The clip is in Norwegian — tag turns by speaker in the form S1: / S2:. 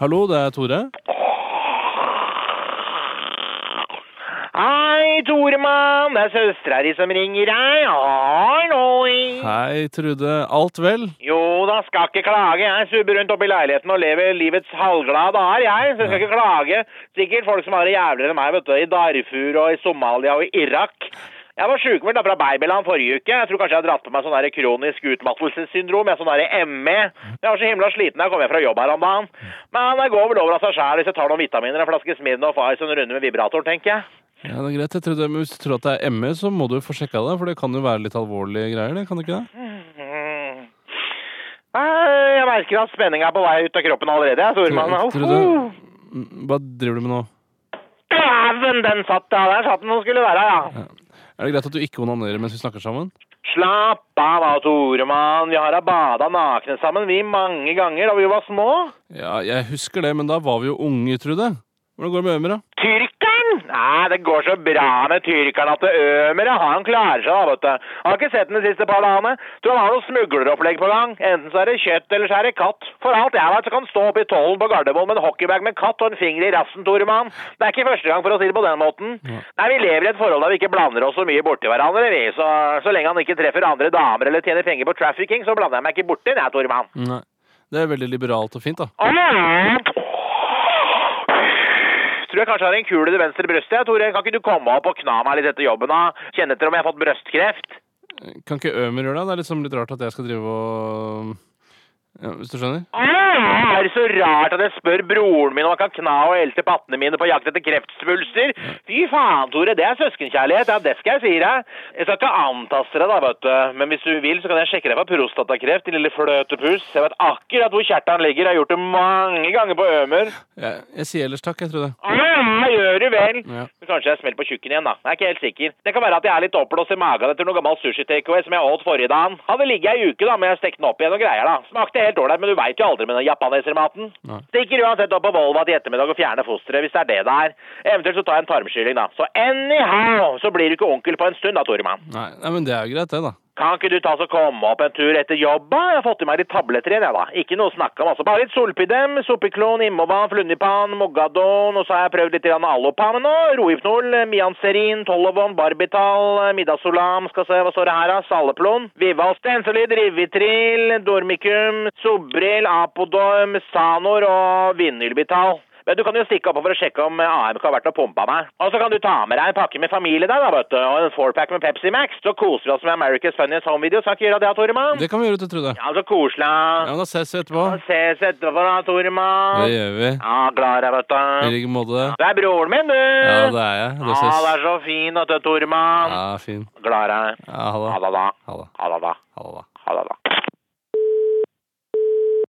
S1: Hallo, det er Tore.
S2: Hei, Toremann. Det er søstera di som ringer deg. Halloi.
S1: Hei, Trude. Alt vel?
S2: Jo da, skal ikke klage. Jeg subber rundt oppe i leiligheten og lever livets halvglade dager, jeg. Så jeg skal ikke klage. Sikkert folk som har det jævligere enn meg, vet du. I Darfur og i Somalia og i Irak. Jeg var sjukmeldt da fra babyland forrige uke. Jeg tror kanskje jeg har dratt på meg sånn der kronisk utmattelsessyndrom. Jeg er sånn der ME. Jeg var så himla sliten da jeg kom hjem fra jobb her om dagen. Men det går vel over av seg sjæl hvis jeg tar noen vitaminer, en flaske Smirnoff Ice og en runde med vibrator, tenker jeg.
S1: Ja, det er greit. Jeg trodde, men hvis du tror at det er ME, så må du få sjekka det. For det kan jo være litt alvorlige greier, det kan det ikke det?
S2: Mm. Nei, Jeg merker at spenninga er på vei ut av kroppen allerede. jeg, Stormann. Uhuh.
S1: Tru- Trude,
S2: Uff.
S1: m, hva driver du med nå?
S2: Dæven, den satt ja. Der satt den som skulle være, ja.
S1: Er det greit at du ikke onanerer mens vi snakker sammen?
S2: Slapp av, da, Toremann. Vi har bada nakne sammen, vi, mange ganger da vi var små.
S1: Ja, jeg husker det, men da var vi jo unge, Trude. Hvordan går det med Ømer, da?
S2: Tyrkeren? Nei, det går så bra med tyrkeren at det ømer. ja. Han klarer seg, da, vet du. Har ikke sett den de siste par dagene. Tror han har noe smugleropplegg på gang. Enten så er det kjøtt, eller så er det katt. For alt jeg vet, så kan han stå oppe i tollen på Gardermoen med en hockeybag med katt og en finger i rassen, Toremann. Det er ikke første gang, for å si det på den måten. Nei, vi lever i et forhold der vi ikke blander oss så mye borti hverandre, vi. Så, så lenge han ikke treffer andre damer eller tjener penger på trafficking, så blander jeg meg ikke borti, jeg, Toremann.
S1: Nei. Det er veldig liberalt og fint, da.
S2: Tror jeg kanskje har en kule til venstre brystet. jeg, Tore, kan ikke du komme opp og kna meg litt etter jobben? da? Kjenne etter om jeg har fått brøstkreft?
S1: Kan ikke Ømer gjøre det? Det er liksom litt rart at jeg skal drive og ja, Hvis du skjønner?
S2: Er det så rart at jeg spør broren min om han kan kna og elte pattene mine på jakt etter kreftsvulster? Fy faen, Tore, det er søskenkjærlighet. Ja, det skal jeg si deg. Jeg skal ikke antaste deg, da, vet du. Men hvis du vil, så kan jeg sjekke deg for prostatakreft, din lille fløtepus. Jeg vet akkurat hvor kjertelen ligger. Jeg har gjort det mange ganger på Ømer.
S1: Jeg, jeg sier ellers takk, jeg, Trude.
S2: Ja, gjør du vel.
S1: Ja.
S2: Men Kanskje jeg smeller på tjukken igjen, da. Jeg er ikke helt sikker. Det kan være at jeg er litt oppblåst i magen etter noe gammel sushi takeaway som jeg åt forrige dagen. Hadde ligget ei uke, da, men jeg stekte den opp igjen og greier, da. Smakte helt ålreit, men du veit jo aldri med den japanesermaten.
S1: Nei.
S2: Stikker uansett opp på Volva til ettermiddag og fjerner fosteret, hvis det er det det er. Eventuelt så tar jeg en tarmskylling, da. Så anyhow, så blir du ikke onkel på en stund, da, Toremann.
S1: Nei, nei, men det er jo greit, det, da.
S2: Kan ikke du ta så komme opp en tur etter jobb, da? Jeg har fått i meg litt tabletter igjen, jeg, da. Ikke noe å snakke om, altså. Bare litt Solpidem, Sopiklon, Immovan, Flunnipan, Mogadon, og så har jeg prøvd litt grann Allopan nå. Rohypnol, Mianserin, Tolovon, Barbital, Midazolam, skal se, hva står det her, da? Saleplon, Vival, Stensolid, Rivitril, Dormicum, Sobril, Apodorm, Sanor og Vinylbital. Men du kan jo stikke opp for å sjekke om eh, AMK har vært og pumpa meg. Og så kan du ta med deg en pakke med familie der, da, vet du. Og en fourpack med Pepsi Max. Så koser vi oss med America's Funniest Home-video. Skal ikke gjøre det, Toremann?
S1: Det kan vi gjøre, vet du, Trude.
S2: Ja, så koselig.
S1: Ja, men Da ses vi etterpå.
S2: Da ses etterpå, da,
S1: Det
S2: Toremann.
S1: gjør vi.
S2: Ja, klar jeg, vet
S1: I
S2: du.
S1: like måte.
S2: Du er broren min, du.
S1: Ja, det er jeg. Det
S2: Ja, du
S1: ses.
S2: er så fin, vet du, Toremann.
S1: Ja, fin.
S2: Glad i deg.
S1: Ja, ha
S2: Ha
S1: det.
S2: det, da.
S1: Ha det.
S2: Ha det, da.
S1: Ha det, da.
S2: Ha det, da.